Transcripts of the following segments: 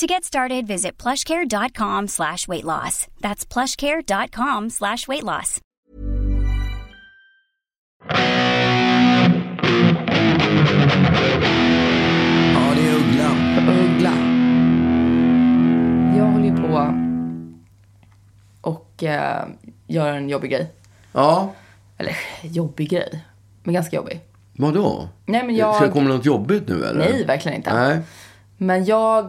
To get started, visit plushcare.com slash weight loss. That's plushcare.com slash weight loss. Ja, det är Ugglan. Uggla. Jag håller ju på och eh, gör en jobbig grej. Ja, Eller jobbig grej. Men ganska jobbig. vadå? Nej, men jag- Ska det komma något jobbigt nu eller? Nej, verkligen inte. Mm. Nej. Men jag...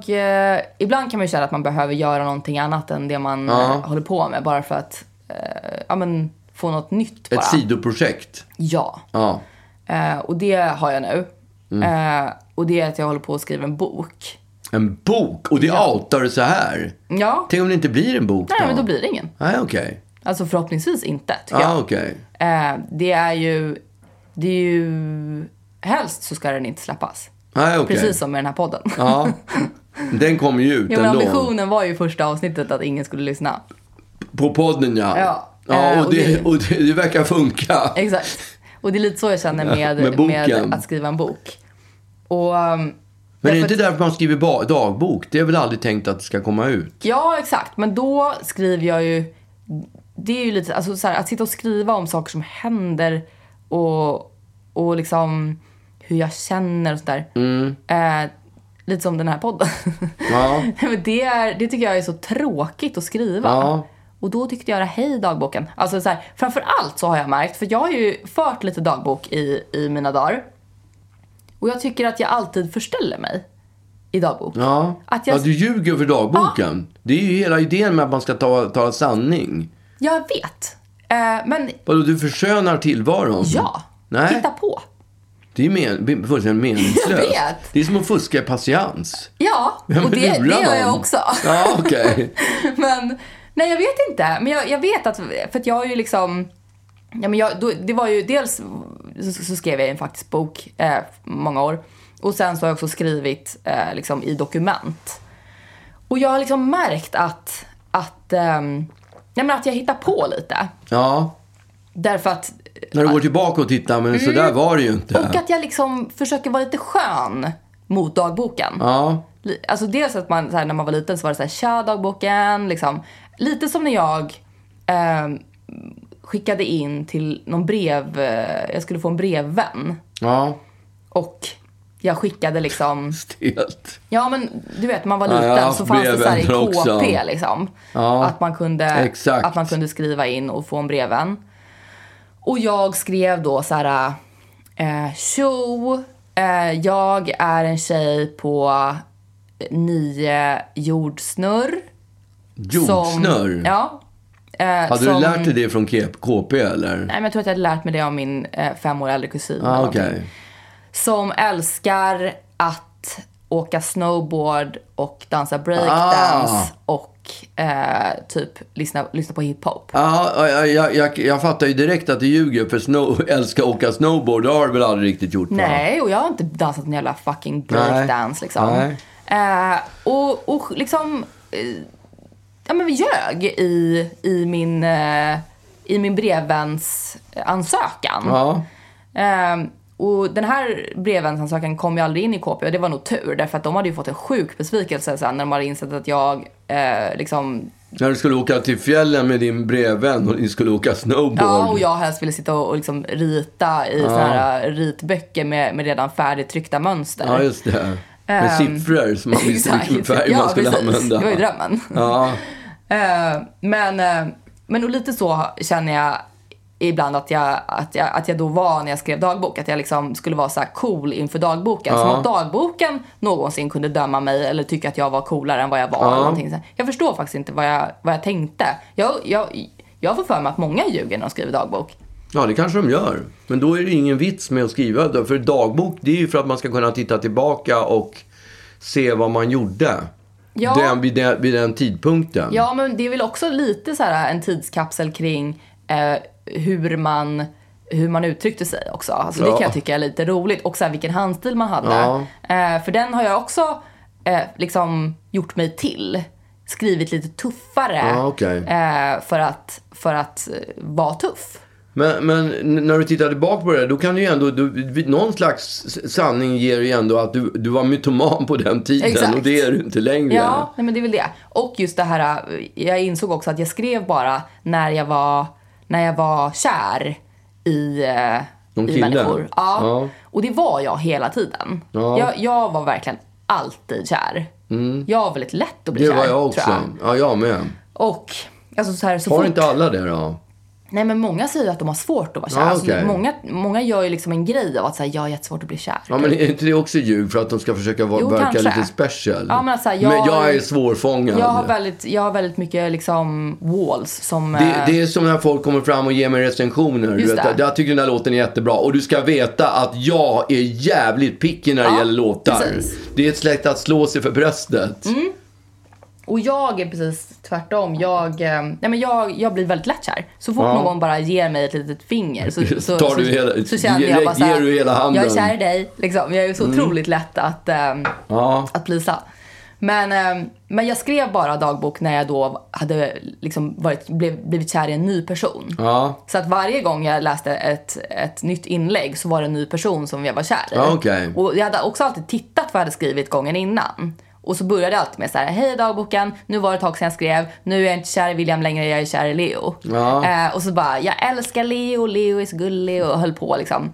Eh, ibland kan man ju känna att man behöver göra någonting annat än det man Ja. eh, håller på med. Bara för att eh, ja, men, få något nytt bara. Ett sidoprojekt. Ja. Ja. Eh, och det har jag nu. Mm. Eh, och det är att jag håller på att skriva en bok. En bok. Och det outar du så här. Ja. Tänk om det inte blir en bok Nej, men då blir det ingen. Nej, okej. Alltså förhoppningsvis inte, tycker jag. Ja, okej. Eh, det är ju... Det är ju... Helst så ska den inte släppas. Nej, okej. Precis som med den här podden. Ja. Den kommer ju ut Ja, men ändå. ambitionen var ju i första avsnittet att ingen skulle lyssna. På podden ja. Ja. ja Eh, och och det, det- och det, det verkar funka. Exakt. Och det är lite så jag känner med, med med, boken. att skriva en bok. Och, um, Men är det därför inte att- därför man skriver ba- dagbok? Det är väl aldrig tänkt att det ska komma ut? Ja, exakt. Men då skriver jag ju... Det är ju lite... Alltså, så här, att sitta och skriva om saker som händer och, och liksom hur jag känner och sådär. Eh, lite som den här podden. Mm. Ja. Men det, är, det tycker jag är så tråkigt att skriva. Ja. Och då tyckte jag det hej dagboken. Alltså så här, framför allt så har jag märkt, för jag har ju fört lite dagbok i, i mina dagar. Och jag tycker att jag alltid förställer mig i dagbok. Ja. Att jag- ja, du ljuger för dagboken. Det är ju hela idén med att man ska ta, tala sanning. Jag vet. Eh, men Vadå, du förskönar tillvaron? ja, Nej, hitta på. det är men, be- fullständigt meningslöst. Jag vet. Det är som att fuska i patiens. Ja, Ja, men och det, det lura gör jag någon. också. Ja, okej. men nej, jag vet inte. Men jag, jag vet att, för att jag har ju liksom... Ja, men jag, då, det var ju dels så, så skrev jag ju en faktisk bok eh, många år. Och sen så har jag också skrivit eh, liksom, i dokument. Och jag har liksom märkt att, att, ehm, ja, men att jag hittar på lite. Ja, Därför att, när du går tillbaka och tittar, men så där var det ju inte. Mm. och att jag liksom försöker vara lite skön mot dagboken. Ja, Li- Alltså dels att man, så här, när man var liten så var det så här, tja dagboken, liksom. Lite som när jag ehm, skickade in till någon brev, eh, jag skulle få en brevvän. ja, Och jag skickade liksom, stelt. ja men du vet man var liten Ja, jag har haft så fanns det så här i brevvänner också. KP liksom. Ja, att, man kunde, exakt. att man kunde skriva in och få en brevvän. Och jag skrev då så här, eh, tjo, eh, jag är en tjej på eh, nio jordsnurr. Jordsnurr. Som, ja. eh, Hade som, du lärt dig det från K- KP eller? Nej, men jag tror att jag hade lärt mig det av min eh, fem år äldre kusin. Ja, eller Ah, okej. någonting. Som älskar att åka snowboard och dansa breakdance och eh, typ lyssna, lyssna på hiphop. Ja, ja, jag, jag, jag fattar ju direkt att du ljuger för snow, älskar att åka snowboard. Det har du väl aldrig riktigt gjort? va? Nej, och jag har inte dansat en jävla fucking breakdance liksom. Nej. Eh, och, och liksom, eh, ja men vi ljög i, i min, eh, i min brevväns ansökan. Ja. Ehm, och den här brevvänsansökan kom ju aldrig in i KP och det var nog tur därför att de hade ju fått en sjuk besvikelse sen när de hade insett att jag eh, liksom, När du skulle åka till fjällen med din brevvän och ni skulle åka snowboard. ja och jag helst ville sitta och, och liksom rita i såna här ritböcker med, med redan färdigtryckta mönster. Ja, just det. Med Ehm, siffror som man visste vilken färg man skulle använda. Det var ju drömmen. Ja, Eh, men, eh, men och lite så känner jag ibland att jag, att, jag, att jag då var när jag skrev dagbok. Att jag liksom skulle vara så här cool inför dagboken. Som att dagboken någonsin kunde döma mig eller tycka att jag var coolare än vad jag var. Eller någonting. så här. Jag förstår faktiskt inte vad jag, vad jag tänkte. Jag, jag, jag får för mig att många ljuger när de skriver dagbok. Ja, det kanske de gör. Men då är det ingen vits med att skriva. det. För dagbok, det är ju för att man ska kunna titta tillbaka och se vad man gjorde. Ja. Den, vid, den, vid den tidpunkten. Ja, men det är väl också lite så här en tidskapsel kring eh, hur man hur man uttryckte sig också. Alltså, Det Ja. kan jag tycka är lite roligt. Och så här, vilken handstil man hade. Ja. Eh, för den har jag också eh, liksom gjort mig till. Skrivit lite tuffare Ja, okej. eh, för att, för att eh, vara tuff. Men, men n- när du tittar tillbaka på det, då kan du ju ändå... Du, någon slags s- sanning ger ju ändå att du, du var mytoman på den tiden. Exakt. Och det är du inte längre. Ja, nej, men det är väl det. Och just det här, eh, jag insåg också att jag skrev bara när jag var, när jag var kär i, eh, Någon i kille? människor. Ja. Ja. Och det var jag hela tiden. Ja. Mm. Jag, jag var verkligen alltid kär. Jag var väldigt lätt att bli Det kär. var jag också. tror jag. Ja, jag med. Och alltså så här, så Har fort... inte alla det då? Nej men många säger ju att de har svårt att vara kär. Ja, Alltså, okej. många, många gör ju liksom en grej av att säga jag har jättesvårt att bli kär. Ja, men är inte det också ljug för att de ska försöka vara, Jo, verka kanske. lite special? Ja, men alltså, jag- jag... men jag är svårfångad. Jag har, väldigt, jag har väldigt mycket liksom walls som... Det, eh, det är som när folk kommer fram och ger mig recensioner. Du Just vet, det. att jag tycker den här låten är jättebra. Och du ska veta att jag är jävligt picky när det Ja, gäller låtar. precis. Mm. Det är ett släkt att slå sig för bröstet. Och jag är precis tvärtom. Jag, eh, nej men jag, jag blir väldigt lätt kär. Så fort Ja. någon bara ger mig ett litet finger så, så, Tar så, du hela- så känner ger- jag bara så här, ger du hela handen. Mm. Jag är kär i dig. Liksom. Jag är så otroligt lätt att, eh, Ja. att plisa. Men, eh, men jag skrev bara dagbok när jag då hade liksom varit, blev, blivit kär i en ny person. Ja. Så att varje gång jag läste ett, ett nytt inlägg så var det en ny person som jag var kär i. Ja, okej. Och jag hade också alltid tittat vad jag hade skrivit gången innan. Och så började jag alltid med så här, hej dagboken, nu var det ett tag sedan jag skrev, nu är jag inte kär i William längre, jag är kär i Leo. Ja. Eh, och så bara, jag älskar Leo, Leo är så gullig och höll på liksom.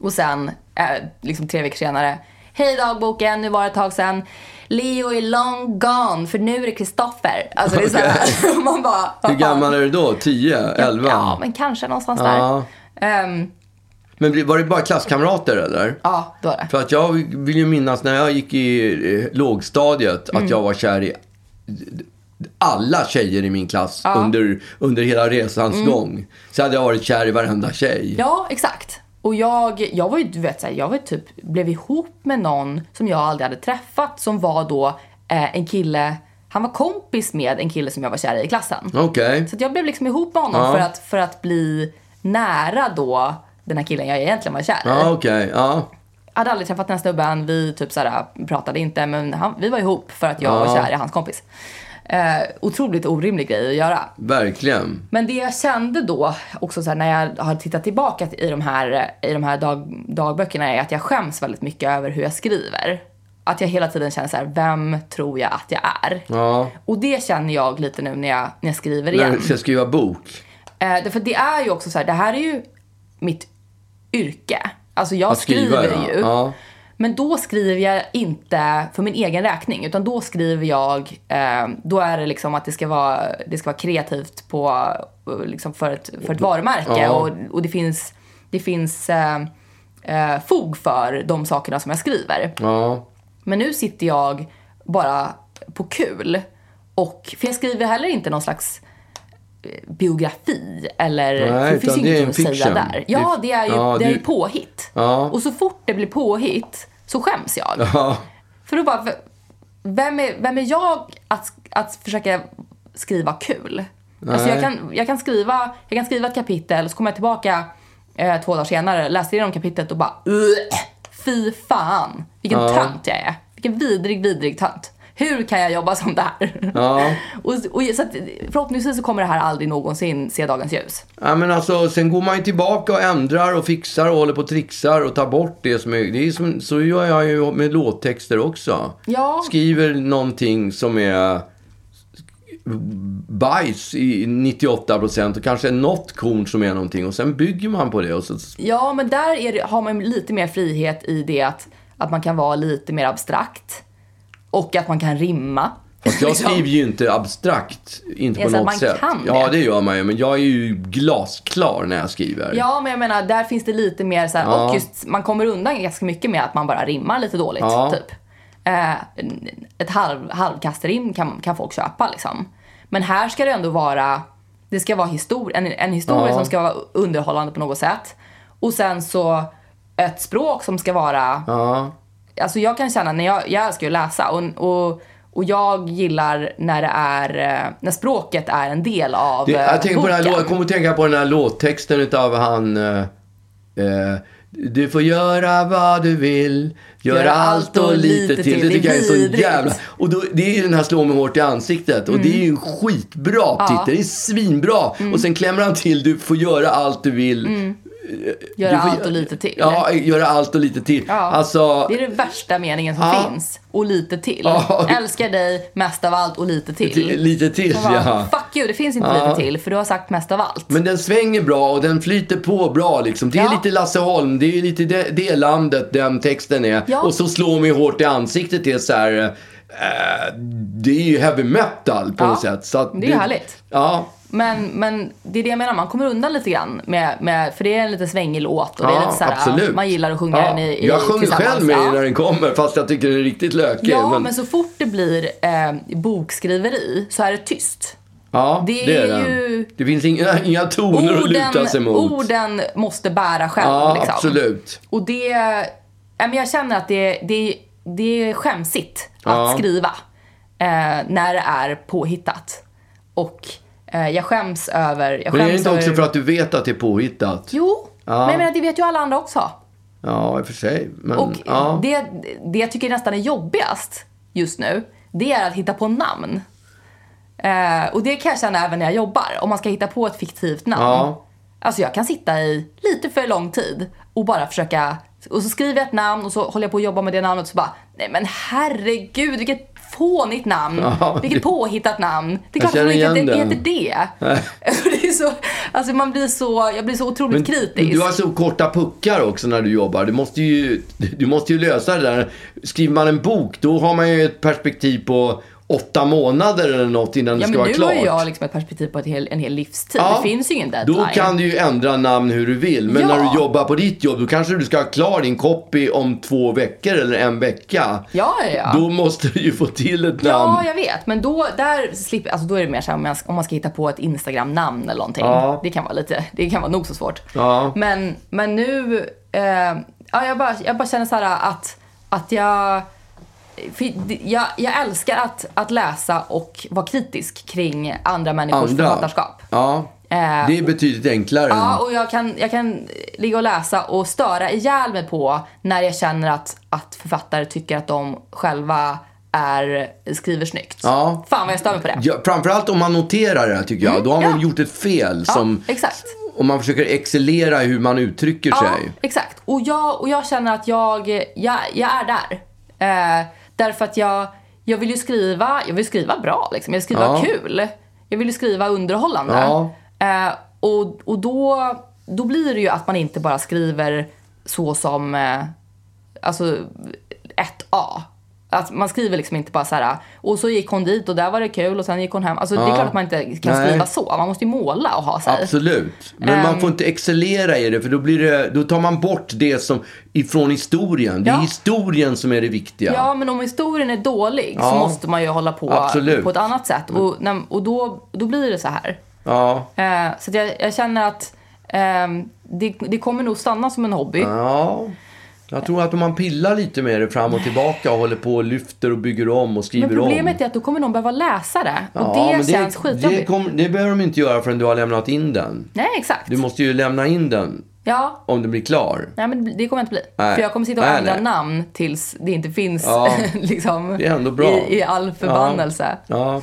Och sen, eh, liksom tre veckor senare, hej dagboken, nu var det ett tag sedan, Leo är long gone, för nu är det Kristoffer. Alltså det är så här, man bara, vad fan? Hur gammal är du då? 10? 11? Ja, men kanske någonstans Ja. där. Ehm, Men var det bara klasskamrater eller? ja, då är det. För att jag vill ju minnas när jag gick i eh, lågstadiet Mm. att jag var kär i alla tjejer i min klass under, under hela resans gång. Så hade jag varit kär i varenda tjej. Mm. Ja, exakt. Och jag, jag var ju, du vet, så här, jag var ju typ, blev ihop med någon som jag aldrig hade träffat som var då eh, en kille, han var kompis med en kille som jag var kär i i klassen. Okej. Så att jag blev liksom ihop med honom Ja. för, att, för att bli nära då den här killen jag egentligen var kär i. Ja, okej. Ja. Jag hade aldrig träffat den här snubben, vi typ så här, pratade inte men han, vi var ihop för att jag var Ja. kär i hans kompis. Eh, otroligt orimlig grej att göra. Verkligen. Men det jag kände då, också så här, när jag har tittat tillbaka i de här, i de här dag, dagböckerna, är att jag skäms väldigt mycket över hur jag skriver. Att jag hela tiden känner så här, vem tror jag att jag är? Ja. Och det känner jag lite nu när jag, när jag skriver När igen. du ska skriva bok. Eh, därför att det är ju också så här, det här är ju mitt yrke. Alltså jag Att skriva, skriver ja. ju. Ja. Men då skriver jag inte för min egen räkning utan då skriver jag, eh, då är det liksom att det ska vara, det ska vara kreativt på, eh, liksom för ett, för ett varumärke Ja. och, och det finns, det finns eh, eh, fog för de sakerna som jag skriver. Ja. Men nu sitter jag bara på kul. Och, för jag skriver heller inte någon slags eh, biografi eller... för det finns utan ju det är ingenting en att säga fiction. där. Ja, det är ju, Ja, det är det- ju påhitt. Ja. Och så fort det blir påhitt så skäms jag. Ja. För då bara, v- vem är, vem är jag att, att försöka skriva kul? Alltså jag, kan, jag, kan skriva, jag kan skriva ett kapitel, så kommer jag tillbaka eh, två dagar senare, läser igenom kapitlet och bara "Ugh, Fy fan, vilken tönt jag är. Vilken vidrig, vidrig tönt. Hur kan jag jobba som det här? Ja. och, och, så att, förhoppningsvis så kommer det här aldrig någonsin se dagens ljus. Ja, men alltså, sen går man ju tillbaka och ändrar och fixar och håller på och trixar och tar bort det som är... Det är som, så gör jag ju med låttexter också. Ja. Skriver någonting som är bajs i 98 procent och kanske något korn som är någonting och sen bygger man på det. Och så, Ja, men där är det, har man lite mer frihet i det att, att man kan vara lite mer abstrakt. Och att man kan rimma. Fast jag Liksom. skriver ju inte abstrakt, inte Ja, på så något man sätt. kan ja, det. det gör man ju. Men jag är ju glasklar när jag skriver. Ja, men jag menar, där finns det lite mer så här, Ja. och just, man kommer undan ganska mycket med att man bara rimmar lite dåligt, Ja. typ. Eh, ett halv, halvkastrim kan, kan folk köpa liksom. Men här ska det ändå vara, det ska vara histor- en, en historia Ja. som ska vara underhållande på något sätt. Och sen så ett språk som ska vara Ja. alltså jag kan känna när jag, jag älskar ju att läsa och, och, och jag gillar när det är, eh, när språket är en del av Det, eh, jag, tänker på den här, lå- boken. jag kommer att tänka på den här låttexten utav han... Eh, eh, du får göra vad du vill, göra Göra allt och lite till. Det tycker jag är så vidrigt. jävla... Och då, det är ju den här slå mig hårt i ansiktet. Och det är ju Mm. en skitbra titel. Det är svinbra. Och sen klämmer han till, du får göra allt du vill. Mm. Eh, Göra Du får allt gö- och lite till. Ja, göra allt och lite till. Ja. Alltså, det är den värsta meningen som Ja. finns. Och lite till. Ja. Älskar dig mest av allt och lite ti- till. lite till. Och bara, Ja. Fuck you, det finns inte Ja. lite till för du har sagt mest av allt. Men den svänger bra och den flyter på bra liksom. Det är Ja. lite Lasse Holm, det är lite det, det landet den texten är. Ja. Och så slår mig hårt i ansiktet det är så här. eh, det är ju heavy metal på Ja. något sätt. Så att Det är härligt. Ja, Men, men det är det jag menar, man kommer undan lite grann. Med, med, för det är en lite svängig låt och det är ja lite så här, absolut. man gillar att sjunga Ja. den i, i Jag sjunger själv tillsammans. med Ja. när den kommer fast jag tycker den är riktigt lökig. Ja, men... så fort det blir eh, bokskriveri så är det tyst. ja, det det, är är den. ju- Det finns inga, inga toner att luta sig Orden, mot. orden måste bära själv. ja, liksom. absolut. Och det... ja, men jag känner att det, det, det är skämsigt Ja. att skriva eh, när det är påhittat. Och eh, jag skäms över... Jag skäms Men är det inte över... också för att du vet att det är påhittat? Jo, Ja. men jag menar, det vet ju alla andra också. Ja, i och för sig. Men, Och ja. det, det jag tycker nästan är jobbigast just nu, det är att hitta på namn. Eh, och det kan jag känna även när jag jobbar, om man ska hitta på ett fiktivt namn. Ja. Alltså jag kan sitta i lite för lång tid och bara försöka, och så skriver jag ett namn och så håller jag på att jobba med det namnet och så bara, nej men herregud vilket fånigt namn, Ja, vilket det- påhittat namn. Det är Jag klart att känner man inte igen det den. heter det. det är så, alltså man blir så, jag blir så otroligt Men kritisk. Du har så korta puckar också när du jobbar. Du måste, ju, du måste ju lösa det där. Skriver man en bok, då har man ju ett perspektiv på åtta månader eller något innan det Ja, ska men vara nu klart. har ju jag liksom ett perspektiv på ett hel, en hel livstid. Ja, det finns ju ingen deadline. Då kan du ju ändra namn hur du vill. Men Ja. när du jobbar på ditt jobb, då kanske du ska ha klar din copy om två veckor eller en vecka. Ja, ja, ja. Då måste du ju få till ett namn. Ja, jag vet. Men då, där slipper, alltså då är det mer så här om, jag, om man ska hitta på ett Instagram-namn eller någonting. Ja. Det kan vara lite, det kan vara nog så svårt. Ja. Men, men nu, eh, ja, jag, bara, jag bara känner så här att, att jag, för det- jag, jag älskar att, att läsa och vara kritisk kring andra människors författarskap. Ja. Eh, Det är betydligt enklare. Ja, och jag kan, jag kan ligga och läsa och störa ihjäl mig på när jag känner att, att författare tycker att de själva är, skriver snyggt. Ja. Fan vad jag stör mig på det. Ja, framförallt om man noterar det här tycker jag. Då har man Mm, ja. gjort ett fel. som, exakt. Om man försöker excellera i hur man uttrycker sig. Ja, exakt. Och jag, och jag känner att jag, jag, jag är där. Eh, därför att jag, jag vill ju skriva, jag vill skriva bra liksom. Jag vill skriva Ja. kul. Jag vill ju skriva underhållande. Ja. Eh, och och då, då blir det ju att man inte bara skriver så som, eh, alltså 1A. Att man skriver liksom inte bara så här. och så gick hon dit och där var det kul och sen gick hon hem. Alltså det är Ja. klart att man inte kan Nej. skriva så. Man måste ju måla och ha sig. Absolut. Men man får Ehm. inte excellera i det för då, blir det, då tar man bort det som ifrån historien. Det är Ja. historien som är det viktiga. Ja, men om historien är dålig så Ja. måste man ju hålla på Absolut. Mm. på ett annat sätt. Och, när- och då, då blir det så här. Ja. Eh, så att jag, jag känner att ehm, det, det kommer nog stanna som en hobby. ja. Jag tror att om man pillar lite med det fram och tillbaka och håller på och lyfter och bygger om och skriver men problemet om. är att då kommer någon behöva läsa det. Och Ja, det men känns det, skitjobbigt. kommer- det behöver de inte göra förrän du har lämnat in den. Nej, exakt. Du måste ju lämna in den Ja. om den blir klar. Nej, men det kommer inte bli. Nej. För jag kommer sitta och Nej, ändra nej. namn tills det inte finns Ja. liksom, Det är ändå bra. I, i all förbannelse. Ja.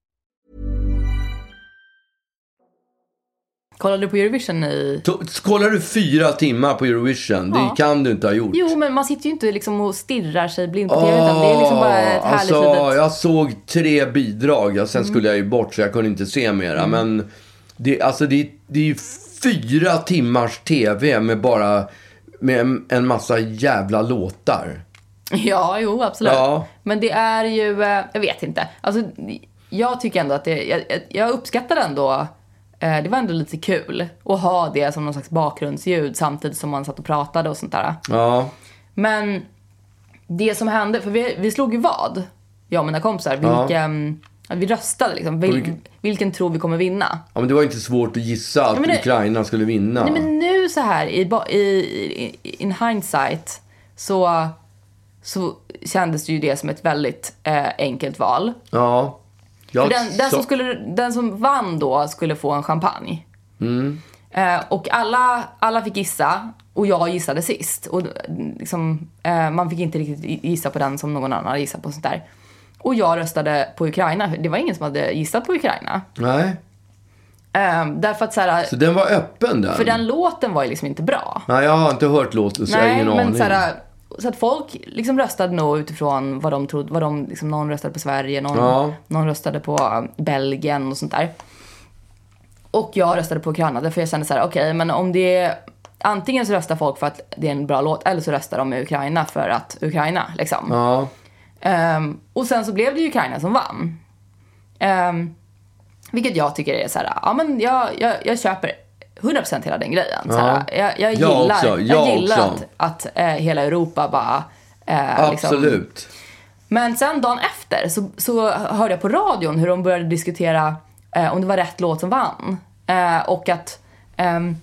Kollade du på Eurovision i... Så- Kollar du fyra timmar på Eurovision? Ja. Det kan du inte ha gjort. Jo, men man sitter ju inte liksom och stirrar sig blind på TV, utan det är liksom bara ett härligt alltså, litet... Mm. Jag såg tre bidrag, ja, sen skulle jag ju bort så jag kunde inte se mera. Men det, alltså, det, det är ju fyra timmars TV med bara med en, en massa jävla låtar. Ja, jo, absolut. Ja. Men det är ju... eh, Jag vet inte. Alltså, jag tycker ändå att det... Jag, jag- jag uppskattar ändå... eh, Det var ändå lite kul att ha det som någon slags bakgrundsljud samtidigt som man satt och pratade och sånt där. Ja, Men det som hände, för vi, vi slog ju vad, jag och mina kompisar, vilken... att Vi röstade liksom, vil, vilken- vilken... tro vi kommer vinna. ja men det var inte svårt att gissa att men det- Ukraina skulle vinna. Nej men nu så här i, ba- i, i in hindsight så, så kändes det ju det som ett väldigt eh, enkelt val. Ja. Jag För den, den, som sa- skulle, den som vann då skulle få en champagne. Mm. Eh, och alla, alla fick gissa och jag gissade sist. Och mm, liksom, eh, man fick inte riktigt gi- gissa på den som någon annan hade gissat på. och Sånt där. Och jag röstade på Ukraina. Det var ingen som hade gissat på Ukraina. Nej, Eh, därför att så här, så den var öppen den. för den låten var ju liksom inte bra. Nej, jag har inte hört låten så jag har ingen aning. men så, här, så att folk liksom röstade nog utifrån vad de trodde. Vad de, liksom, någon röstade på Sverige, någon, Ja. någon röstade på eh, Belgien och sånt där. Och jag röstade på Ukraina därför jag kände så här: okej men om det är Antingen så röstar folk för att det är en bra låt eller så röstar de med Ukraina för att Ukraina liksom. Ja, Ehm, och sen så blev det ju Ukraina som vann. Ehm, vilket jag tycker är så här, ja men jag, jag, jag köper 100% hela den grejen. Så här, jag, jag Jag gillar, jag också, jag gillar också. att, att eh, hela Europa bara... eh, Liksom. absolut. Men sen dagen efter så, så hörde jag på radion hur de började diskutera eh, om det var rätt låt som vann. Eh, och att... ehm,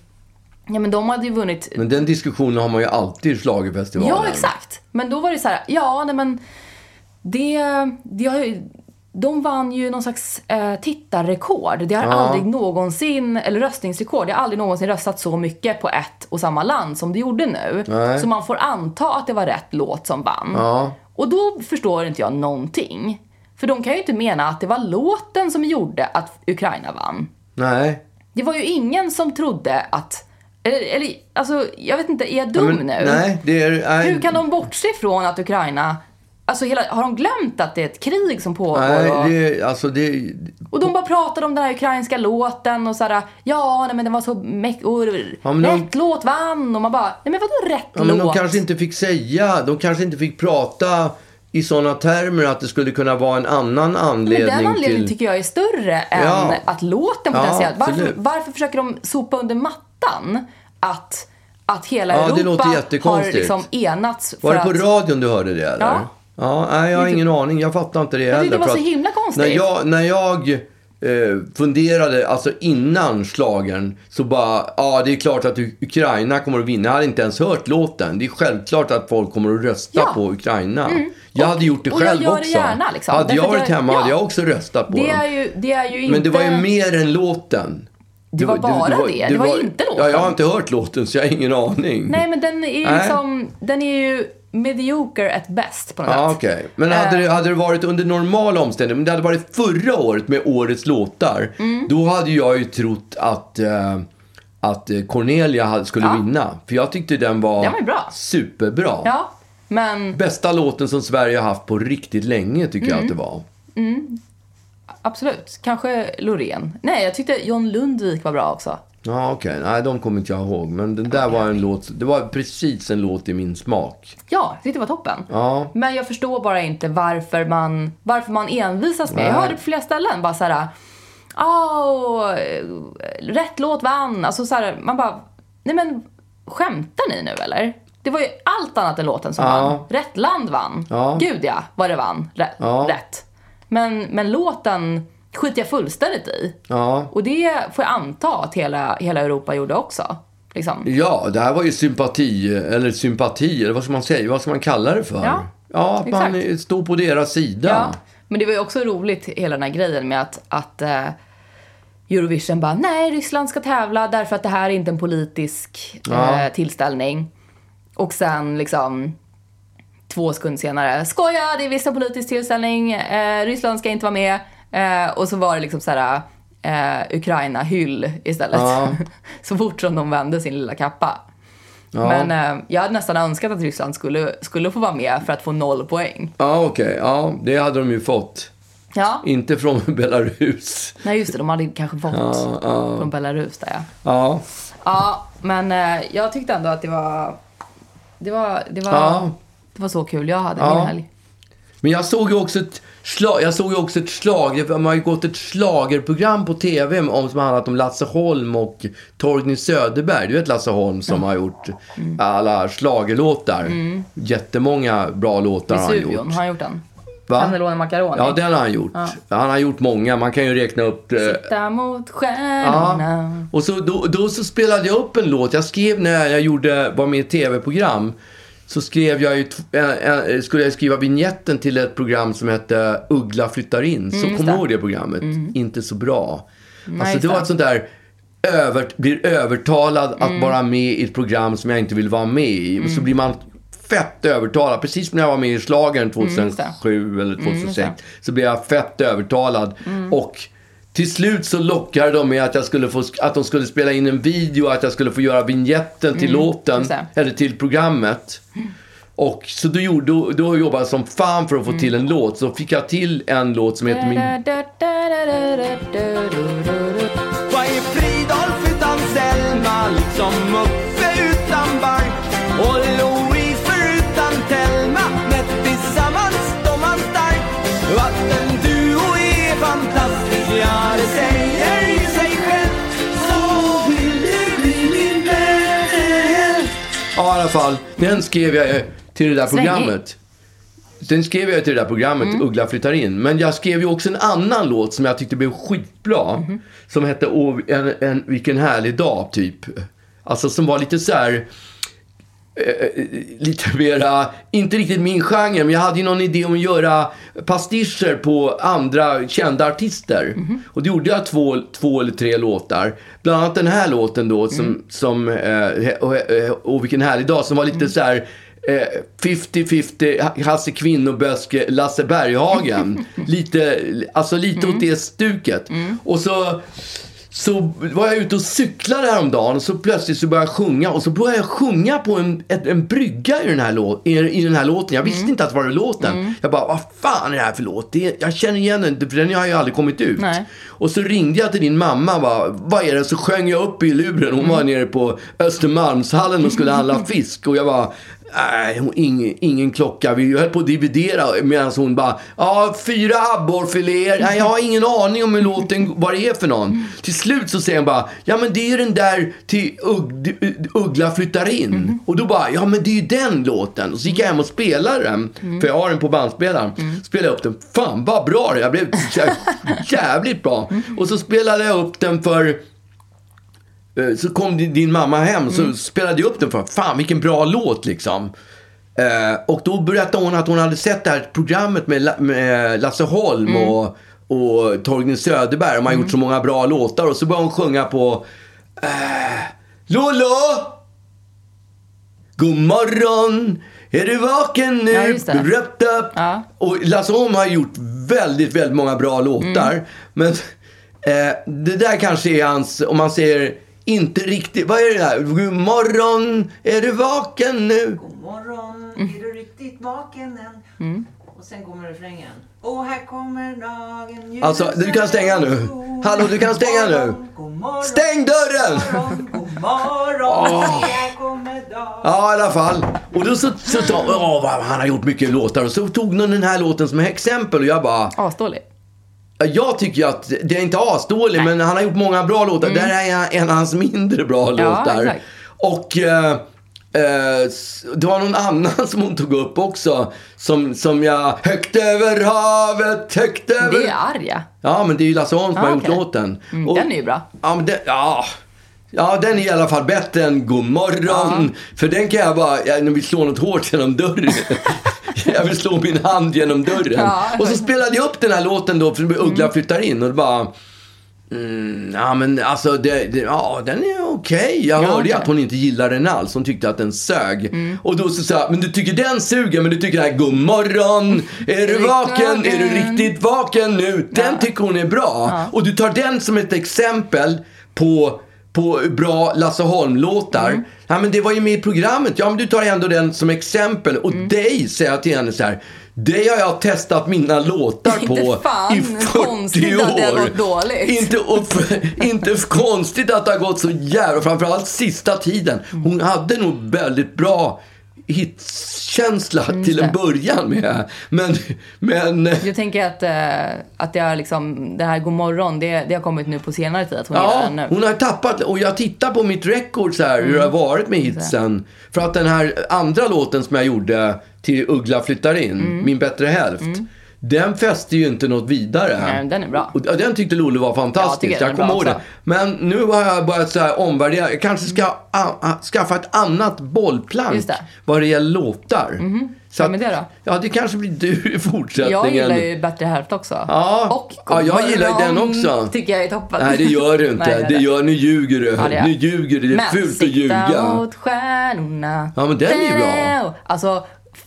ja men de hade ju vunnit Men den diskussionen har man ju alltid i schlagerfestivalen. Ja, exakt. Men då var det så här, ja, nej men det, det har ju, de vann ju någon slags eh, tittarrekord. Det har aldrig någonsin, eller röstningsrekord, det har aldrig någonsin röstat så mycket på ett och samma land som det gjorde nu. Nej. Så man får anta att det var rätt låt som vann. Ja. Och då förstår inte jag någonting. För de kan ju inte mena att det var låten som gjorde att Ukraina vann. Nej. Det var ju ingen som trodde att, eller, eller alltså jag vet inte, är jag dum Men- nu? Nej, det är... Nej, Hur kan de bortse från att Ukraina... Alltså hela, har de glömt att det är ett krig som pågår? och, Nej, det är... Alltså det... och de bara pratar om den här ukrainska låten och såhär, ja nej, men den var så mäktig, och Ja, men de- rätt låt vann och man bara, nej men vadå rätt Ja, låt? men de kanske inte fick säga, de kanske inte fick prata i sådana termer att det skulle kunna vara en annan men anledning den anledningen till... tycker jag är större än Ja. att låten Ja, potentiellt... varför, absolut. varför försöker de sopa under mattan att, att hela Ja, det Europa låter har jättekonstigt. liksom enats för Var det att... på radion du hörde det eller? Ja. Ja, nej, jag har ingen aning. Jag fattar inte det det heller. var för så att himla konstigt. När jag, när jag eh, funderade, alltså innan slagen så bara, ja det är klart att U- Ukraina kommer att vinna. Jag hade inte ens hört låten. Det är självklart att folk kommer att rösta Ja. Mm. på Ukraina. Jag hade gjort det och jag själv gör det också. gärna, liksom. Hade Därför jag att varit jag- hemma hade ja. jag också röstat på det, dem. är ju, det är ju inte... Men det var ju mer än låten. Det var bara det. Det var inte låten. Ja, jag har inte hört låten så jag har ingen aning. Nej, men den är ju Nej. liksom, den är ju mediocre at best på något Ja, sätt. okej. Men hade, Eh. det, hade det varit under normala omständigheter, men det hade varit förra året med årets låtar, Mm. då hade jag ju trott att, eh, att eh, Cornelia hade- skulle vinna. För jag tyckte den var, Den var ju bra. superbra. Ja, men Bästa låten som Sverige har haft på riktigt länge tycker jag att Mm. det var. absolut. Kanske Loreen. Nej, jag tyckte John Lundvik var bra också. Ja, okej. Nej, de kommer inte jag ihåg. Men den där var en låt, det var precis en låt i min smak. Ja, jag tyckte det var toppen. Ja. Men jag förstår bara inte varför man, varför man envisas med. Jag hörde på flera ställen bara så här, åh, rätt låt vann. Alltså så här, man bara, nej men skämtar ni nu eller? Det var ju allt annat än låten som vann. Rätt land vann. Ja. Gud ja, vad det vann. Rä- Ja. Rätt. Men, men låten skiter jag fullständigt i. Ja. Och det får jag anta att hela, hela Europa gjorde också. Liksom. Ja, det här var ju sympati, eller sympati, eller vad ska man säga, vad ska man kalla det för? Ja, ja att man exakt. står på deras sida. Ja. Men det var ju också roligt, hela den här grejen med att, att eh, Eurovision bara, nej, Ryssland ska tävla därför att det här är inte en politisk Ja. eh, tillställning. Och sen liksom två sekunder senare, skoja, det är visst en politisk tillställning, eh, Ryssland ska inte vara med. Eh, och så var det liksom så här, eh, Ukraina-hyll istället. Ja. så fort som de vände sin lilla kappa. Men eh, jag hade nästan önskat att Ryssland skulle, skulle få vara med för att få noll poäng. Ja, okej. Ja, det hade de ju fått. Ja. Inte från Belarus. Nej just det, de hade kanske fått från Belarus där ja. Ja, Ja, men eh, jag tyckte ändå att det var... Det var, det var, Ja. det var så kul jag hade Ja. min helg. Men jag såg ju också ett slag, jag såg ju också ett slag, de har ju gått ett slagerprogram på TV om, som har handlat om Lasse Holm och Torgny Söderberg. Du vet Lasse Holm som har gjort Mm. alla schlagerlåtar. Jättemånga bra låtar har han gjort. Vesuvium, Mm. har han gjort den? Va? Cannelloni Macaroni? Ja, den har han gjort. Han har gjort många, man kan ju räkna upp. eh, Titta mot Ja. stjärnorna. Och så, då, då så spelade jag upp en låt. Jag skrev när jag gjorde, var med i ett tv-program. Så skrev jag ju, t- en, en, skulle jag skriva vignetten till ett program som hette Uggla flyttar in. Så kommer du ihåg det programmet? Inte så bra. alltså just det var det. ett sånt där över, blir övertalad att vara med i ett program som jag inte vill vara med i. Och så blir man fett övertalad. Precis som när jag var med i slagern Mm, 2007 eller 2006. så blev jag fett övertalad. Mm. Och till slut så lockade de med att, jag skulle få, att de skulle spela in en video, att jag skulle få göra vignetten till låten, Mm, just det. eller till programmet. Och så då, gjorde, då, då jobbade jag som fan för att Mm. få till en låt. Så fick jag till en låt som heter Min Vad är Fridolf utan Selma? Liksom Muffe utan Bank och Louise förutan Telma. Men tillsammans de man stark. Att en duo är fantastisk, ja det säger ju sig själv. Så vill du bli min vän. Ja, i alla fall. Den skrev jag eh, till det där Svängig. programmet. Den skrev jag till det där programmet, Uggla flyttar in. Men jag skrev ju också en annan låt som jag tyckte blev skitbra. Som hette Åh, en, en, Vilken härlig dag, typ. Alltså som var lite så här... eh, eh, Lite mera, inte riktigt min genre, men jag hade ju någon idé om att göra pastischer på andra kända artister. Och då gjorde jag två, två eller tre låtar. Bland annat den här låten då, som, som eh, och, eh, och vilken härlig dag, som var lite så här eh, 50-50 Ha- Hasse Kvinnoböske, Lasse Berghagen. lite, alltså lite åt det stuket. Och så så var jag ute och cyklade häromdagen och så plötsligt så började jag sjunga och så började jag sjunga på en, ett, en brygga i den, här låt, i, i den här låten. Jag visste inte att det var låten. Jag bara, vad fan är det här för låt? Det, är- jag känner igen den, för den har ju aldrig kommit ut. Nej. Och så ringde jag till din mamma och bara, vad är det? Så sjöng jag upp i luren. Hon var nere på Östermalmshallen och skulle handla fisk. Och jag bara, nej, hon- ingen, ingen klocka. Vi höll på att dividera medan hon bara, ja, fyra abborrfiléer. Nej, jag har ingen aning om hur låten, vad det är för någon. Till slut så säger hon bara, ja men det är ju den där till Ugg, Uggla flyttar in. Och då bara, ja men det är ju den låten. Och så gick jag hem och spelade den. För jag har den på bandspelaren. Spelade upp den. Fan vad bra det Jag blev jä- jävligt bra. Och så spelade jag upp den för Eh, Så kom din, din mamma hem så spelade jag upp den för Fan vilken bra låt liksom. Eh, och då berättade hon att hon hade sett det här programmet med, La, med Lasse Holm och, och Torgny Söderberg. De har gjort så många bra låtar. Och så började hon sjunga på eh, Lollo! God morgon! Är du vaken nu? Ja, just det. Röpt upp. Ja. Och Lasse Holm har gjort väldigt, väldigt många bra låtar. Mm. Men eh, det där kanske är hans, om man säger inte riktigt, vad är det där? God morgon, är du vaken nu? God morgon, Mm. är du riktigt vaken än? Och sen kommer refrängen. Och här kommer dagen ljus Alltså, du kan stänga nu. Hallå, du kan stänga nu. God morgon, Stäng dörren! God morgon, god morgon. Åh. Här kommer dagen Ja, i alla fall. Och då så, så tog, åh, vad- han har gjort mycket låtar. Och så tog någon den här låten som exempel och jag bara, Asdålig. Ja, Jag tycker ju att det är inte asdålig, men Mm. han har gjort många bra låtar. Det här är en av hans mindre bra låtar. exakt. Och eh, Eh, s- det var någon annan som hon tog upp också. Som, som jag... Högt över havet, högt över... Det är arga. Ja, men det är ju Lasse Holm som Ah, har okej. gjort låten. Mm, den är ju bra. Ja, men den, ja. ja, den är i alla fall bättre än God morgon. För den kan jag bara, jag vill slå något hårt genom dörren. jag vill slå min hand genom dörren. Ja. Och så spelade jag upp den här låten då, för Uggla flyttar in och det bara... Mm, ja, men alltså, det, det, ja, den är okej. Jag hörde ju okej. Mm. att hon inte gillade den alls. Hon tyckte att den sög. Och då så sa jag, men du tycker den suger, men du tycker den här God morgon, är du Riktigt vaken, är du vaken." riktigt riktigt vaken nu. Den tycker hon är bra. Och du tar den som ett exempel på, på bra Lasse Holm-låtar. Mm. Ja, men det var ju med i programmet. Ja, men du tar ändå den som exempel. Och Mm. dig säger jag till henne så här. Dig har jag testat mina låtar på Inte fan i 40 konstigt år. att det har gått dåligt. Inte, och för, inte för konstigt att det har gått så jävla... Framförallt sista tiden. Hon hade nog väldigt bra hitkänsla till en det. början med. Men, men Jag tänker att, eh, att det, har liksom, det här god morgon, det, det har kommit nu på senare tid att hon gillar den nu. Mm. hon har tappat och jag tittar på mitt record så här hur det har varit med hitsen. För att den här andra låten som jag gjorde till Uggla flyttar in, Mm. Min bättre hälft. Den fäste ju inte något vidare. Nej, men den är bra. Och, ja, den tyckte Lollo var fantastisk. Ja, jag tycker den är jag kommer bra ihåg det. också. Men nu har jag börjat så här omvärdera. Jag kanske ska a- a- skaffa ett annat bollplank Just det. vad det gäller låtar. Så Vem är det då? Ja, det kanske blir du i fortsättningen. Jag gillar ju Bättre hälft också. Ja. Och Ja, jag God gillar ju den morgon också. tycker jag är toppen. Nej, det gör du inte. Nej, det det gör gör, nu ljuger du. det gör nu jag. ljuger du. Det är Men fult sikta att ljuga. mot stjärnorna. Ja, men den är ju bra. Alltså,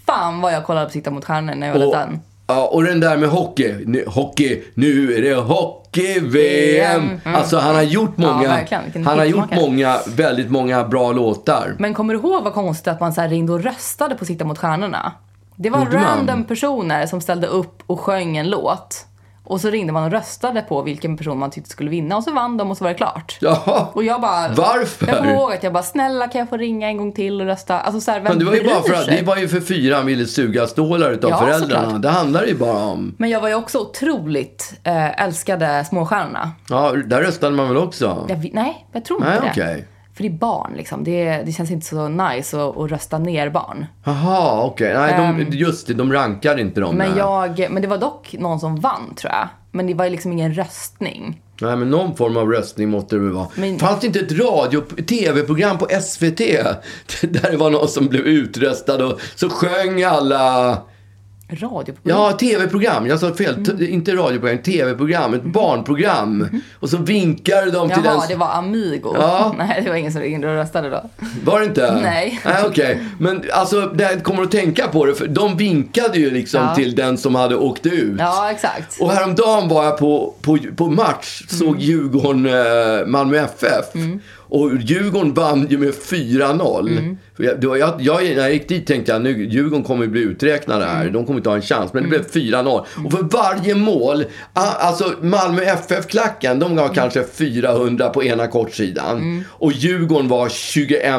fan vad jag kollade på Sikta mot stjärnorna när jag var Och, liten. ja, och den där med hockey. Nu, hockey, nu är det hockey-VM. Mm. Alltså, han har gjort många, verkligen. Vilken han har gjort hitmakare. många, väldigt många bra låtar. Men kommer du ihåg vad konstigt att man så här ringde och röstade på Sikta mot stjärnorna? Det var Gjorde man? random personer som ställde upp och sjöng en låt. Och så ringde man och röstade på vilken person man tyckte skulle vinna och så vann de och så var det klart. Jaha. Och jag bara... Varför? Jag kommer ihåg att jag bara, snälla kan jag få ringa en gång till och rösta? Alltså såhär, vem Men det var ju bryr bara för att, sig? det var ju för fyra han ville suga stålar utav Ja, föräldrarna. såklart. Det handlar ju bara om... Men jag var ju också otroligt eh, älskade småstjärnorna. Ja, där röstade man väl också? Jag, vi- nej, jag tror inte Nej, det. okej. För det är barn liksom. Det, det känns inte så nice att, att rösta ner barn. Jaha, okej. Nej, de, just det. De rankar inte dem. Ehm. Men, nej. jag, men det var dock någon som vann tror jag. Men det var ju liksom ingen röstning. Nej, men någon form av röstning måste det väl vara. Men- Fanns det inte ett radio tv-program på SVT där det var någon som blev utröstad och så sjöng alla... Radio Ja, tv-program. Jag sa fel. T- Mm. Inte radioprogram, tv-program. Ett barnprogram. Och så vinkade de till Jaha, den... det var Amigo. Ja. Nej, det var ingen som ringde och röstade då. Var det inte? Nej. Nej, okej. Men alltså, det här kommer att tänka på det. För de vinkade ju liksom Ja. till den som hade åkt ut. Ja, exakt. Och häromdagen var jag på, på, på match, såg Djurgården eh, Malmö FF. Och Djurgården vann ju med 4-0. För Jag, det var, jag, jag, när jag gick dit tänkte jag nu Djurgården kommer ju bli uträknade här. De kommer inte ha en chans. Men det blev 4-0. Och för varje mål, a- alltså Malmö FF-klacken, de var kanske 400 på ena kortsidan. Och Djurgården var 21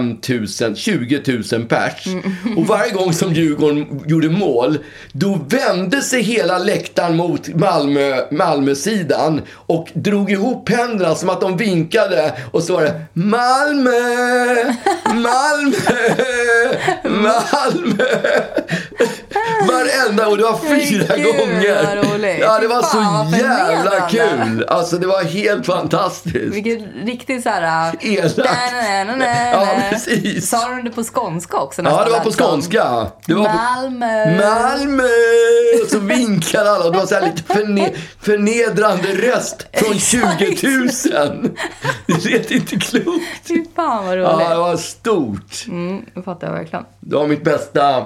000, 20 000 pers. Mm. Och varje gång som Djurgården gjorde mål, då vände sig hela läktaren mot Malmö, Malmösidan och drog ihop händerna som att de vinkade och så var det Malmö, Malmö, Malmö. Varenda, och det var fyra Men gud, gånger. vad roligt. Ja, det var Fy fan, så vad jävla förnedrande. kul. Alltså det var helt fantastiskt. Vilken riktig såhär... Elakt. Ja, precis. Sa de det på skånska också? Ja, nästan det var på lät som? skånska. Det var på... Malmö. Malmö! Och så vinkade alla och det var så här lite förne- förnedrande röst från 20 000. Det lät inte klokt. Fy fan vad roligt. Ja, det var stort. Mm, jag fattar verkligen. Det var mitt bästa,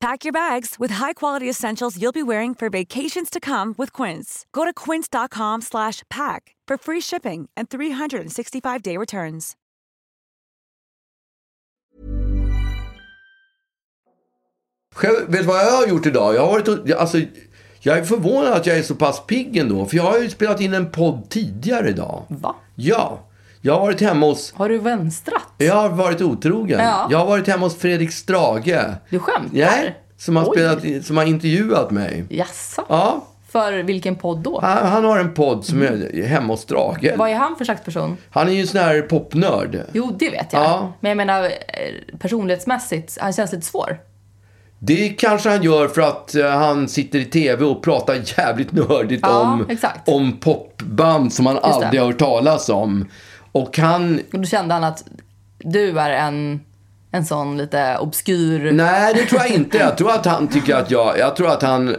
Pack your bags with high-quality essentials you'll be wearing for vacations to come with Quince. Go to quince.com/pack slash pack for free shipping and 365-day returns. Själv, vet du vad jag har gjort idag? Jag har varit och- jag- alltså, jag är förvånad att jag är så pass pigg ändå. För jag har ju spelat in en podd tidigare idag. Va? Ja. Jag har varit hemma hos... Har du vänstrat? Jag har varit otrogen. Ja. Jag har varit hemma hos Fredrik Strage. Du skämtar? Nej, som har, Oj. spelat, i- som har intervjuat mig. Jaså? Ja, För vilken podd då? han, han har en podd som är hemma hos Strage. Mm. Vad är han för slags person? Han är ju en sån här popnörd. Jo, det vet jag. Ja. Men jag menar eh, personlighetsmässigt, han känns lite svår. Det kanske han gör för att eh, han sitter i tv och pratar jävligt nördigt Ja, om, exakt. om popband som han det. aldrig har hört talas om. Och han... Och då kände han att du är en, en sån lite obskyr... Nej, det tror jag inte. Jag tror att han tycker att jag... Jag tror att han... Eh,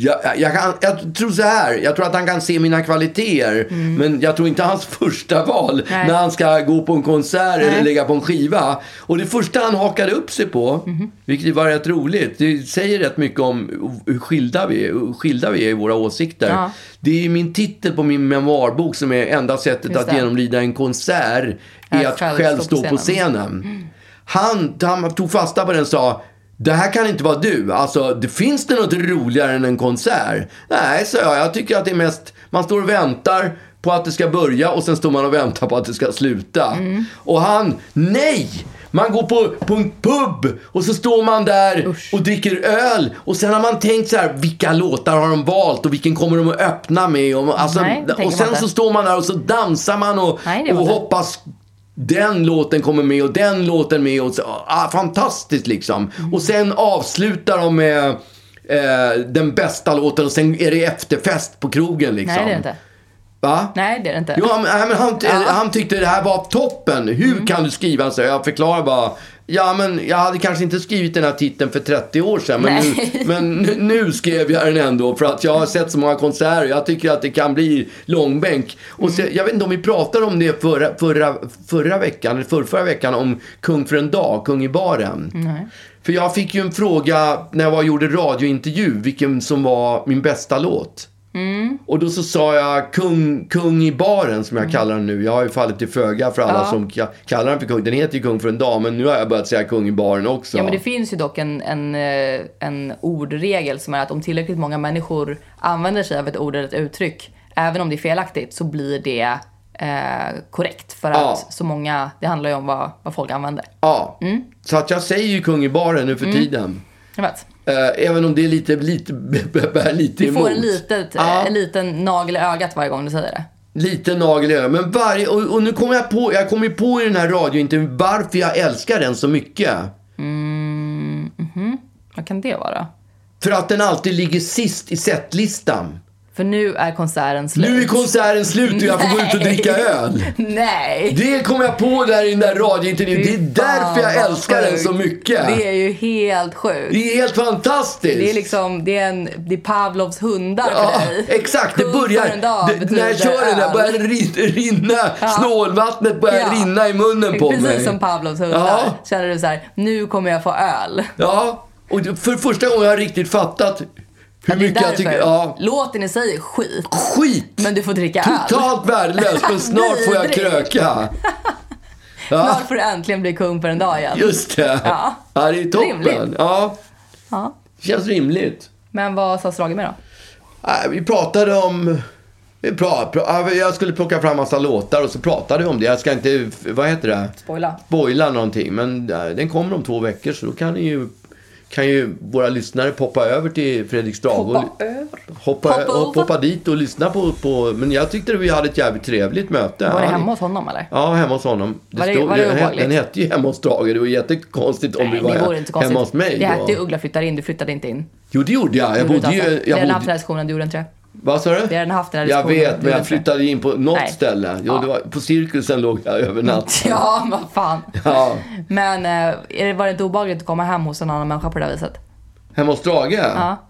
jag, jag, kan, jag tror så här. Jag tror att han kan se mina kvaliteter. Men jag tror inte hans första val Nej. när han ska gå på en konsert eller lägga på en skiva. Och det första han hakade upp sig på, vilket var rätt roligt. Det säger rätt mycket om hur skilda vi är, hur skilda vi är i våra åsikter. Ja. Det är ju min titel på min memoarbok som är enda sättet Just att det. genomlida en konsert. Är att själv stå på scenen scenen. Han, han tog fasta på den och sa det här kan inte vara du. Alltså, det finns det något roligare än en konsert? Nej, sa jag. Jag tycker att det är mest, man står och väntar på att det ska börja och sen står man och väntar på att det ska sluta. Och han, nej! Man går på, på en pub och så står man där och dricker öl. Och sen har man tänkt så här, vilka låtar har de valt och vilken kommer de att öppna med? Och, alltså, Nej, det tänker och man sen inte. så står man där och så dansar man och, Nej, det var och inte. hoppas den låten kommer med och den låten med. Och så, ah, fantastiskt liksom. Mm. Och sen avslutar de med eh, den bästa låten och sen är det efterfest på krogen liksom. Nej, det är det inte. Va? Nej, det är det inte. Mm. Jo, han, nej, men han, han tyckte det här var toppen. Hur kan du skriva så? Jag förklarar bara. Ja, men jag hade kanske inte skrivit den här titeln för 30 år sedan. Men, nu, Nej. men nu, nu skrev jag den ändå för att jag har sett så många konserter. Jag tycker att det kan bli långbänk. Mm. Och så, jag vet inte om vi pratade om det förra, förra, förra veckan, eller förra, veckan, om Kung för en dag, Kung i baren. För jag fick ju en fråga när jag var, gjorde radiointervju, vilken som var min bästa låt. Och då så sa jag kung, kung i baren som jag Mm. kallar den nu. Jag har ju fallit till föga för alla som ka- kallar den för kung. Den heter ju kung för en dag men nu har jag börjat säga kung i baren också. Ja, men det finns ju dock en, en, eh, en ordregel som är att om tillräckligt många människor använder sig av ett ord eller ett uttryck, även om det är felaktigt, så blir det eh, korrekt. För Ja. att så många, det handlar ju om vad, vad folk använder. Ja. Mm. Så att jag säger ju kung i baren nu för tiden. Jag vet. Eh, även om det är lite, lite, bär lite Du emot. får en, litet, Ja. en liten nagel i ögat varje gång du säger det. Liten nagel i ögat. Men varje, och, och nu kommer jag på, jag kommer ju på i den här radiointervjun varför jag älskar den så mycket. Vad kan det vara? För att den alltid ligger sist i setlistan. För nu är konserten slut. Nu är konserten slut och jag får gå ut och dricka öl. Nej! Det kom jag på där i den där radiointervjun. Det Fy är därför fan, jag vad älskar den sjukt. så mycket. Det är ju helt sjukt. Det är helt fantastiskt. Det är liksom, det är, en, det är Pavlovs hundar för Ja, dig. exakt, det Kung börjar... för en dag Det, när jag betyder kör den där öl. börjar det rin- rinna. Ja. Snålvattnet börjar Ja. rinna i munnen på Precis mig. som Pavlovs hundar. Ja. Känner du så här, nu kommer jag få öl. Ja, och det- för första gången har jag riktigt fattat hur Det är mycket därför. jag tycker... Ja, Låten i sig är skit, skit! men du får dricka öl. Totalt värdelöst, men snart får jag Vidrigt. kröka. Ja, Snart får du äntligen bli kung för en dag igen. just det. Ja. Ja, det är toppen. Rimligt. Ja, Ja. känns rimligt. Men vad sa Strage med då? Nej, Ah, vi pratade om... Vi pra, pra, ja, jag skulle plocka fram massa låtar och så pratade vi om det. Jag ska inte, vad heter det? Spoila. Spoila någonting. Men eh, den kommer om två veckor så då kan ni ju, kan ju våra lyssnare poppa över till Fredrik Strage. och- Hoppa över. Hoppa, Hoppa hoppa, över. hoppa dit och lyssna på, på... Men jag tyckte vi hade ett jävligt trevligt möte. Var det Han- hemma hos honom eller? Ja, hemma hos honom. Var det- var det den, he- obehagligt? den hette ju hemma hos Strage. Det var jättekonstigt om vi Nej, var det vore inte konstigt. hemma hos mig. Det då. hette ju Uggla flyttar in, du flyttade inte in. Jo, det gjorde jag. Jag Du alltså? bodde ju... utanför. Vi har Jag redan haft den bodde, här diskussionen, du gjorde inte det. vad sa du? Vi har redan haft den här Jag diskussionen. vet, Du men gjorde jag inte flyttade in på något Nej. ställe. Jo, Ja. det var, på cirkusen låg jag över natt. det. Ja, vad fan. Ja. Men eh, är det- var det inte obehagligt att komma hem hos en annan människa på det där viset? Hemma hos Strage?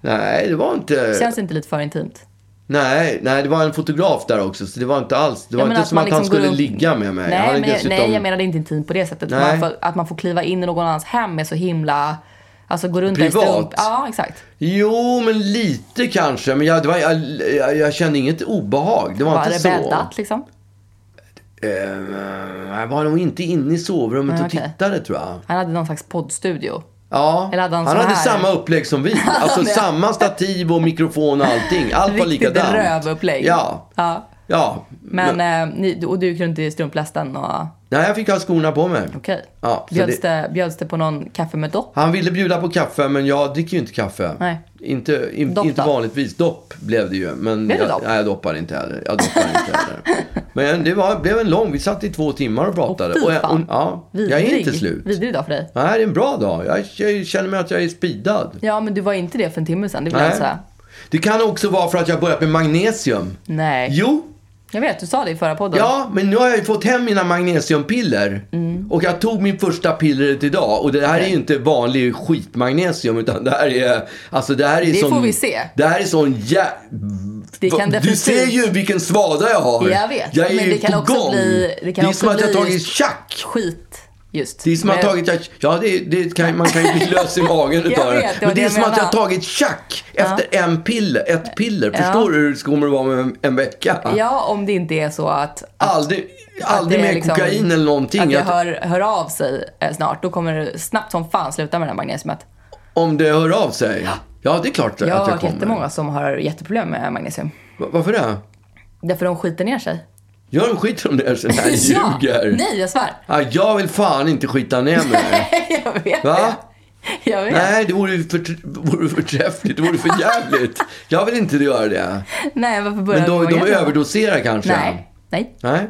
Nej, det var inte... Känns det inte lite för intimt? Eh, Nej, nej, det var en fotograf där också, så det var inte alls... Det var men inte som att, man han liksom går skulle runt- ligga med mig. Nej, han är men, jag- dessutom... nej jag menade inte intimt på det sättet. Nej. Man får, att man får kliva in i någon annans hem är så himla... Alltså gå runt där i Privat. strump. Ja, exakt. Jo, men lite kanske. Men jag, det var, jag, jag, jag kände inget obehag. Det var, Var inte det så. bäddat liksom? Eh, jag var nog inte inne i sovrummet Nej, och okej. tittade tror jag. Han hade någon slags poddstudio. Ja, Eller hade han sån hade här? samma upplägg som vi. Alltså samma stativ och mikrofon och allting. Allt var Riktigt likadant. rövupplägg. Ja. Ja. Ja. Men, eh, ni, och du kunde inte i strumplästen och... Nej, jag fick ha skorna på mig. Okej. Ja, så bjöds, det- det... bjöds det på någon kaffe med dopp? Han ville bjuda på kaffe, men jag dricker ju inte kaffe. Nej. Inte, in, Dopp inte då? vanligtvis. Dopp blev det ju. Men Blev det jag, dopp? Nej, jag doppar inte heller. Jag doppar inte heller. Men det var, blev en lång. Vi satt i två timmar och pratade. fy jag, fan. ja, jag är inte slut. Vidrig dag för dig. Nej, det är en bra dag. Jag, jag känner mig att jag är speedad. Ja, men alltså- du var inte det för en timme sedan. Det vill jag Nej. säga. Det kan också vara för att jag har börjat med magnesium. Nej. Jo, Jag vet, du sa det i förra podden. Ja, men nu har jag ju fått hem mina magnesiumpiller. Mm. Och jag tog min första pillret idag. Och det här är ju inte vanlig skitmagnesium. Utan det här är... Alltså det här är Det sån, får vi se. Det här är sån jä... Det kan du definitivt- ser ju vilken svada jag har. Jag vet, Jag är men ju det kan på också gång. bli- det kan är också som att jag bli- tagit tjack. Skit, just. Det är som att jag tagit tjack. Ja, det, det kan, man kan ju bli lös i magen Jag utav vet, det. det var Men det det är jag som att jag menar. har tagit tjack efter en piller, ett piller. Förstår du hur det kommer att vara om en, en vecka? Ja, om det inte är så att... Aldrig, aldrig det är mer liksom- kokain eller någonting. Att det Jag- hör, hör av sig eh, snart. Då kommer det snabbt som fan sluta med det här magnesiumet. Om det hör av sig? Ja, det är klart Jag att har jag hört kommer. jättemånga som har jätteproblem med magnesium. Va- Varför det? Därför de skiter ner sig. Gör en skit om det här så jag Ja, ljuger. Nej, jag svär. Ja, jag vill fan inte skita ner mig. jag vet Va? det. Jag vet. Nej. Nej, det vore ju för, vore förträffligt. Det vore för jävligt. Jag vill inte göra det. varför Men börjar de, vi de med det? överdoserar kanske? Nej. Nej, Nej?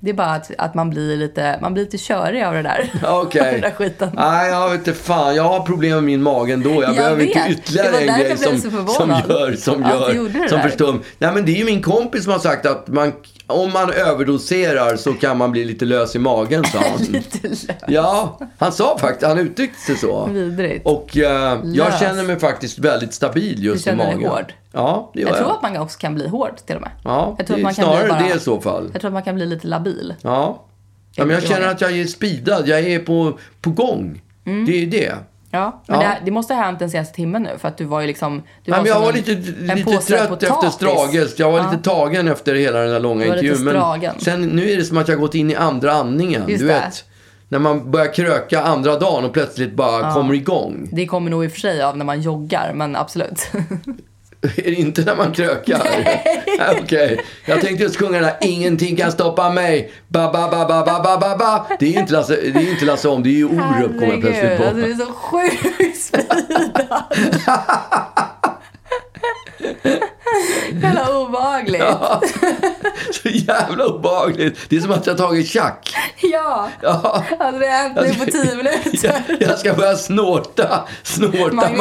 det är bara att, att man blir lite, man blir lite körig av det där. Ja, av den Okej. Ah. där skiten. Nej, jag vet inte fan. Jag har problem med min mage ändå. Jag, Jag behöver vet. inte ytterligare Det var en därför grej jag blev så som, som förvånad. gör, som Att du gör, gjorde det som där. förstör. Nej, men det är ju min kompis som har sagt att man, om man överdoserar så kan man bli lite lös i magen, sa han. Lite lö- Ja, han sa faktiskt, han uttryckte sig så. Vidrigt. Och eh, jag Lös. känner mig faktiskt väldigt stabil just Du känner i dig magen. hård? Ja, det gör Jag jag. tror att man också kan bli hård till och med. Ja, jag tror det att är man kan snarare bli bara, det i så fall. Jag tror att man kan bli lite labil. Ja. ja men jag I känner magen. att jag är speedad, jag är på, på gång. Mm. Det är det. Ja, men Ja. Det, här- det måste ha hänt den senaste timmen nu för att du var ju liksom... Du Nej, men jag som var en- lite, en lite påse trött potatis. efter Strages. Jag var lite tagen efter hela den där långa Du var lite intervjun. Men stragen. sen, nu är det som att jag gått in i andra andningen. Just du det. vet, när man börjar kröka andra dagen och plötsligt bara kommer igång. Det kommer nog i och för sig av när man joggar, men absolut. Är det inte när man krökar? Okej. Jag tänkte just sjunga den här Ingenting kan stoppa mig. Ba, ba, ba, ba, ba, ba, ba, ba. Det är ju inte Lasse, det är ju inte Lasse om, det är ju Orup kommer jag plötsligt Herregud, på. Alltså, det är så sjukt speedad. Jävla obehagligt. Ja. Så jävla obehagligt. Det är som att jag tagit tjack. Ja. Alltså, det har hänt nu på tio Jag, minuter. jag ska börja snorta, snorta magnesium.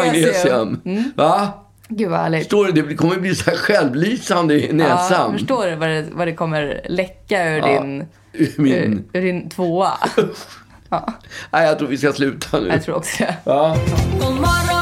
Magnesium. Va? Gud vad härligt. Förstår du? Det blir- kommer bli så här självlysande i Ja, näsan. förstår du vad det, vad det kommer läcka ur din, Ur ur, Min... ur Eh, din tvåa? Nej, jag tror vi ska sluta nu. Jag tror också det. Ja. God morgon, oh,